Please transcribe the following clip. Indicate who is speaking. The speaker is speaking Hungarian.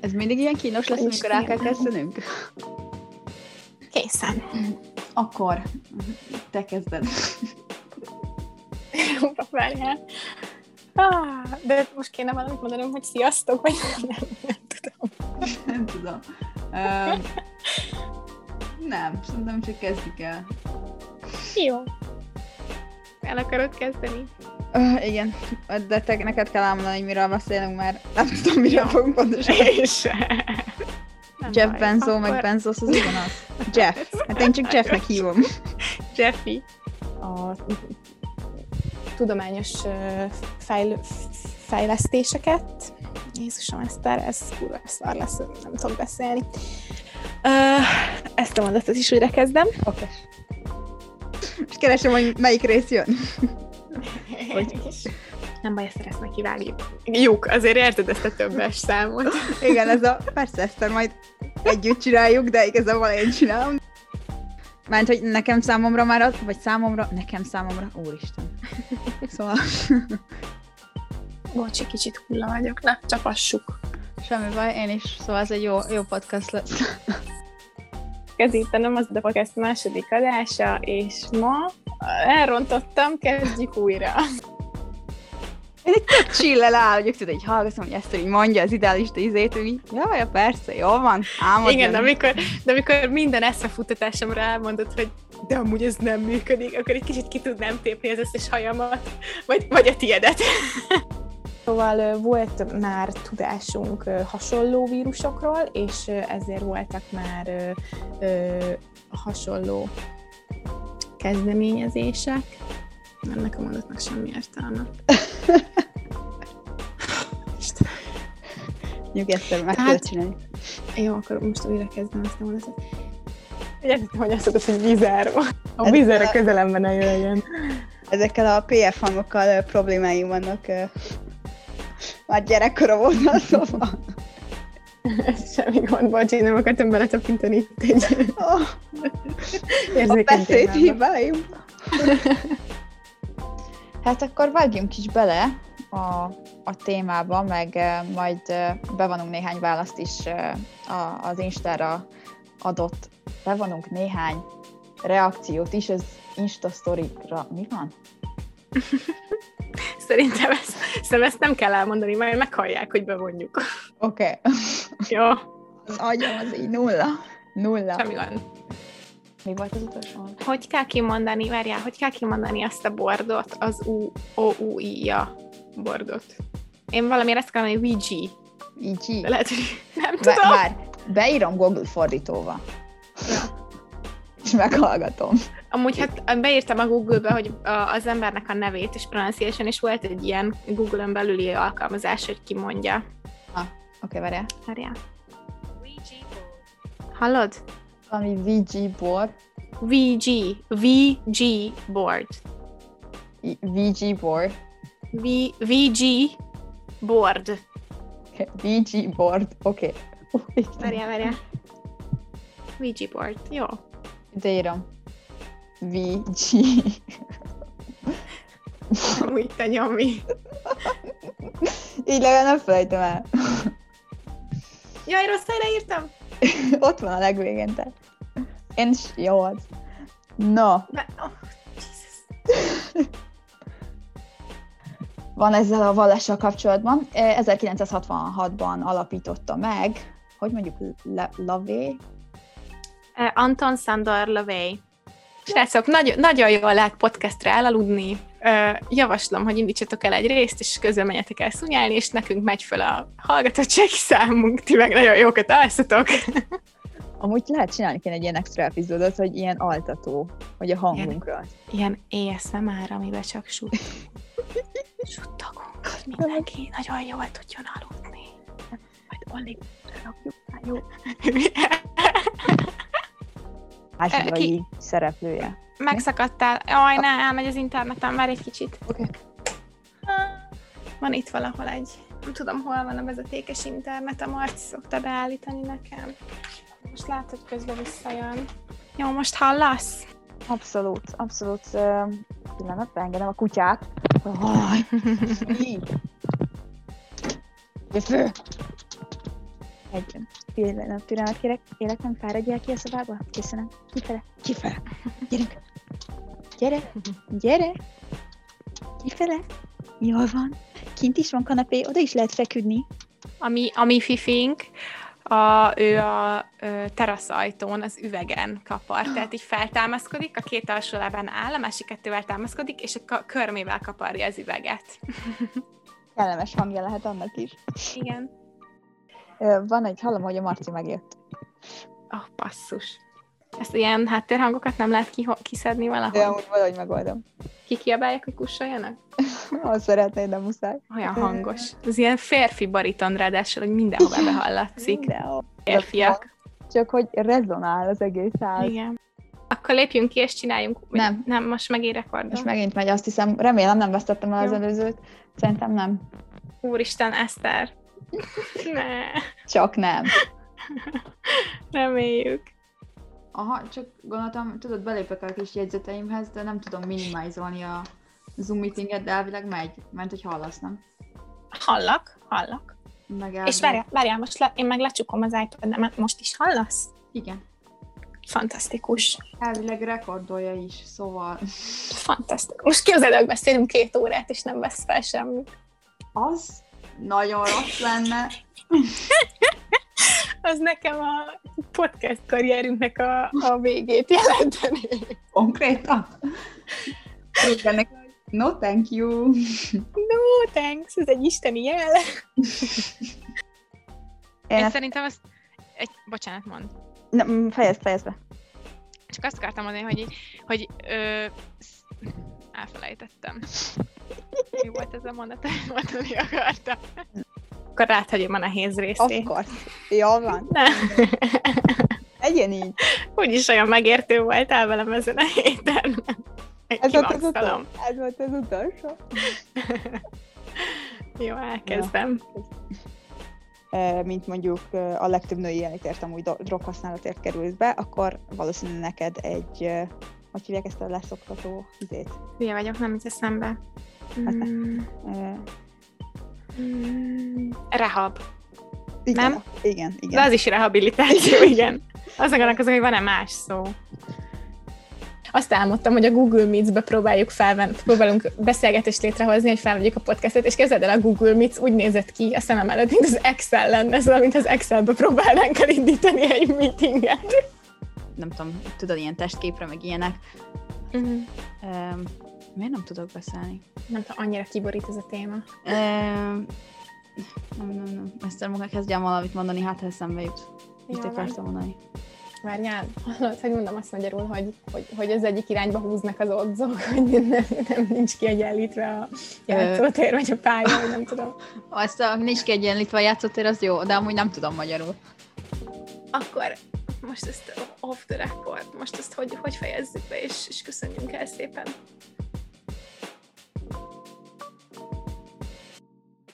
Speaker 1: Ez mindig ilyen kínos lesz,
Speaker 2: És
Speaker 1: amikor el kell
Speaker 2: fiam.
Speaker 1: kezdenünk?
Speaker 2: Készen.
Speaker 1: Akkor te kezded.
Speaker 2: Várjál. Ah, de most kéne valamit mondanom, hogy sziasztok, vagy nem, nem tudom.
Speaker 1: Nem tudom. Öm, nem, szerintem csak kezdjük el.
Speaker 2: Jó. El akarod kezdeni?
Speaker 1: Ö, Öh, igen, de te, neked kell elmondani, hogy miről beszélünk, mert nem tudom, miről fogunk pontosan.
Speaker 2: És...
Speaker 1: Jeff Benzo, meg Benzos, az ugyanaz. Jeff. Hát én csak Jeffnek hívom.
Speaker 2: Jeffy. A tudományos ö, fejl- fejlesztéseket. Jézusom, ezt ez kurva szar lesz, nem tudok beszélni. Ö, ezt a mondatot is újra kezdem.
Speaker 1: Oké. Most keresem, hogy melyik rész jön.
Speaker 2: Nem baj, ezt ezt kivágjuk. Lyuk, azért érted ezt a többes számot.
Speaker 1: Igen, ez a persze, ezt majd együtt csináljuk, de igazából én csinálom. Mert hogy nekem számomra már az, vagy számomra, nekem számomra, úristen. Szóval
Speaker 2: Bocsi, kicsit hulla vagyok, na, csapassuk.
Speaker 1: semmi baj, én is, szóval ez egy jó, jó podcast lesz.
Speaker 2: Kezítenem az a podcast második adása, és ma elrontottam, kezdjük újra.
Speaker 1: Csillel áll, hogy tudod, így hallgatom, hogy ezt így mondja az idealista izét, hogy így, jaj, ja, persze, jól van, álmodjon.
Speaker 2: Igen, de amikor, de amikor minden eszefuttatásomra elmondod, hogy de amúgy ez nem működik, akkor egy kicsit ki tudnám tépni az összes hajamat, vagy, vagy a tiedet. Szóval ö, volt már tudásunk ö, hasonló vírusokról, és ö, ezért voltak már ö, ö, hasonló kezdeményezések. Ennek a mondatnak semmi értelme.
Speaker 1: Nyugodtan, meg
Speaker 2: Hát-
Speaker 1: tudod csinálni.
Speaker 2: Jó, akkor most újra kezdem ezt a mondatot. Ugye, hogy azt mondod, hogy Hát, vizáró. A vizár a közelembe ne jöjjön.
Speaker 1: Ezekkel a PF hangokkal ö, problémáim vannak. ö. Már gyerekkora volna, szóval.
Speaker 2: Ez semmi gond, bocsi, nem akartam beletapintani itt egy
Speaker 1: Oh.
Speaker 2: érzékeny témába.
Speaker 1: hibáim. Hát akkor vágjunk is bele a, a témába, meg eh, majd eh, bevonunk néhány választ is eh, a, az Instára adott. Bevonunk néhány reakciót is az Insta sztorikra. Mi van?
Speaker 2: Szerintem ezt, szerintem ezt nem kell elmondani, majd meghallják, hogy bevonjuk.
Speaker 1: Oké. Okay.
Speaker 2: Jó,
Speaker 1: Az agyam az így nulla. Nulla.
Speaker 2: semmi gond.
Speaker 1: Mi volt az utolsó?
Speaker 2: Hogy kell kimondani, várjál, hogy kell kimondani azt a bordot, az u o u i -ja bordot? Én valamiért ezt kell mondani, VG,
Speaker 1: Így így.
Speaker 2: de lehet, hogy
Speaker 1: Be,
Speaker 2: nem tudom.
Speaker 1: már beírom Google fordítóba.
Speaker 2: Ja.
Speaker 1: És meghallgatom.
Speaker 2: Amúgy hát beírtam a Google-be, hogy a- az embernek a nevét és pronunciation, és volt egy ilyen Google-ön belüli alkalmazás, hogy kimondja.
Speaker 1: Oké, okay, várjál.
Speaker 2: Várjál. Hallod?
Speaker 1: Valami VG board.
Speaker 2: VG. VG board.
Speaker 1: I- VG board.
Speaker 2: V, VG board.
Speaker 1: Oké, VG board. Oké. Okay.
Speaker 2: Várjál, várjál. VG board. Jó.
Speaker 1: Ide írom. VG.
Speaker 2: Amúgy te nyomi.
Speaker 1: Így legalább nem felejtem el.
Speaker 2: Jaj, rossz helyre írtam.
Speaker 1: Ott van a legvégén, tehát. Én is jó az. No,
Speaker 2: Be- oh, Jesus.
Speaker 1: van ezzel a vallással kapcsolatban. Eh, 1966-ban alapította meg, hogy mondjuk Le- Lavé?
Speaker 2: Eh, Anton Sandor Lovey. Srácok, nagy, nagyon jól lehet podcastre elaludni. Ö, Javaslom, hogy indítsatok el egy részt, és közben menjetek el szunyálni, és nekünk megy föl a hallgatottsági számunk. Ti meg nagyon jókat alszatok.
Speaker 1: Amúgy lehet csinálni kéne egy ilyen extra epizódot, hogy ilyen altató, hogy a hangunkra.
Speaker 2: Ilyen ASMR, amiben csak sut. suttogunk, hogy mindenki nagyon jól tudjon aludni. Majd alig rakjuk már jó.
Speaker 1: Ázsiai szereplője.
Speaker 2: Megszakadtál. Aj, ne, elmegy az internetem, már egy kicsit.
Speaker 1: Oké.
Speaker 2: Van itt valahol egy, nem tudom, hol van a vezetékes internet, a Marci szokta beállítani nekem. Most látod, közben visszajön. Jó, most hallasz?
Speaker 1: Abszolút, abszolút. ö, Pillanat, beengedem a kutyát. Aj, így. Gyere föl! Egy pillanat, pillanat kérek. Kérek, nem fáradjál ki a szobába? Köszönöm. Kifele, kifele. Gyerünk. Gyere, gyere. Kifele. Jól van. Kint is van kanapé, oda is lehet feküdni.
Speaker 2: Ami, ami fifink, a, ő a ö, teraszajtón, az üvegen kapar. Tehát így feltámaszkodik, a két alsó lábán áll, a másik kettővel támaszkodik, és a ka- körmével kaparja az üveget.
Speaker 1: Kellemes hangja lehet annak is.
Speaker 2: Igen.
Speaker 1: Ö, Van egy, hallom, hogy a Marci megjött.
Speaker 2: Oh, passzus. Ezt ilyen háttérhangokat nem lehet kiho- kiszedni
Speaker 1: De
Speaker 2: valahol?
Speaker 1: amúgy valahogy megoldom.
Speaker 2: Kikiabálják, hogy kussoljanak?
Speaker 1: Azt szeretnéd, de muszáj.
Speaker 2: Olyan hangos. Ez ilyen férfi bariton, ráadásul, hogy mindenhová behallatszik.
Speaker 1: Mindenhol.
Speaker 2: Férfiak.
Speaker 1: Csak hogy rezonál az egész ház.
Speaker 2: Igen. Akkor lépjünk ki, és csináljunk.
Speaker 1: Nem.
Speaker 2: Nem, most megint rekordom.
Speaker 1: Most megint megy, azt hiszem, remélem nem vesztettem el az
Speaker 2: Jó.
Speaker 1: előzőt. Szerintem nem.
Speaker 2: Úristen, Eszter. ne,
Speaker 1: Csak nem.
Speaker 2: reméljük.
Speaker 1: Aha, csak gondoltam, tudod, belépek a kis jegyzeteimhez, de nem tudom minimalizolni a Zoom meetinget, de elvileg megy, mert hogy hallasz, nem?
Speaker 2: Hallak, hallak.
Speaker 1: Meg
Speaker 2: És várjál, várjál, most le, én meg lecsukom az iPad-emet, most is hallasz?
Speaker 1: Igen.
Speaker 2: Fantasztikus.
Speaker 1: Elvileg rekordolja is, szóval
Speaker 2: Fantasztikus. Most képzeld, hogy beszélünk két órát, és nem vesz fel semmit.
Speaker 1: az nagyon rossz lenne.
Speaker 2: Az nekem a podcast karrierünknek a, a végét jelenteni.
Speaker 1: Konkrétan? Rúgjanak, No, thank you.
Speaker 2: No, thanks, ez egy isteni jel.
Speaker 3: Én szerintem ezt... Egy, bocsánat, mond.
Speaker 1: nem, fejezd, fejezd be.
Speaker 3: Csak azt akartam mondani, hogy, így- hogy ö, sz- elfelejtettem. Mi volt ez a mondat, amit mondani akartam?
Speaker 2: Akkor ráthagyom a nehéz
Speaker 1: Of
Speaker 2: részét.
Speaker 1: course. Jól van.
Speaker 2: Nem,
Speaker 1: Egyen így.
Speaker 2: úgyis olyan megértő voltál velem ezen a héten.
Speaker 1: Ez volt az
Speaker 2: Kimaxolom.
Speaker 1: utolsó. Ez volt az utolsó.
Speaker 2: Jó, elkezdem.
Speaker 1: Ö, Mint mondjuk ö, a legtöbb női jelenlétért amúgy do- droghasználatért kerülsz be, akkor valószínűleg neked egy, ö, hogy hívják ezt a leszoktató izét?
Speaker 2: Hülye vagyok, nem jut eszembe.
Speaker 1: Hát ne.
Speaker 2: Mm,
Speaker 1: Ö,
Speaker 2: mm, Rehab.
Speaker 1: Igen,
Speaker 2: Nem?
Speaker 1: Igen, igen.
Speaker 2: De az is rehabilitáció, igen. Az gondolkozom, hogy van-e más szó. Azt álmodtam, hogy a Google Meets-be próbáljuk felven, próbálunk beszélgetést létrehozni, hogy felvegyük a podcastet, és kezded el a Google Meets úgy nézett ki a szemem előtt, mint az Excel lenne, ez olyan, mint az Excelbe próbálnánk elindítani egy meetinget.
Speaker 1: Nem tudom, tudod, ilyen testképre, meg ilyenek.
Speaker 2: Mm-hmm.
Speaker 1: Um, miért nem tudok beszélni?
Speaker 2: Nem tudom, annyira kiborít ez a téma.
Speaker 1: Um, nem, nem, nem. Ezt maga kezdjem valamit mondani, hát ha eszembe jut.
Speaker 2: Mit Jól van. akartam
Speaker 1: mondani?
Speaker 2: Várjál, hallod, hogy mondom azt magyarul, hogy, hogy, hogy az egyik irányba húznak az odzok, hogy nem, nem nincs kiegyenlítve a játszótér, vagy a pálya, vagy nem tudom.
Speaker 1: Azt a nincs kiegyenlítve a játszótér, az jó, de amúgy nem tudom magyarul.
Speaker 2: Akkor most ezt off the record, most ezt hogy, hogy fejezzük be, és, és köszönjünk el szépen.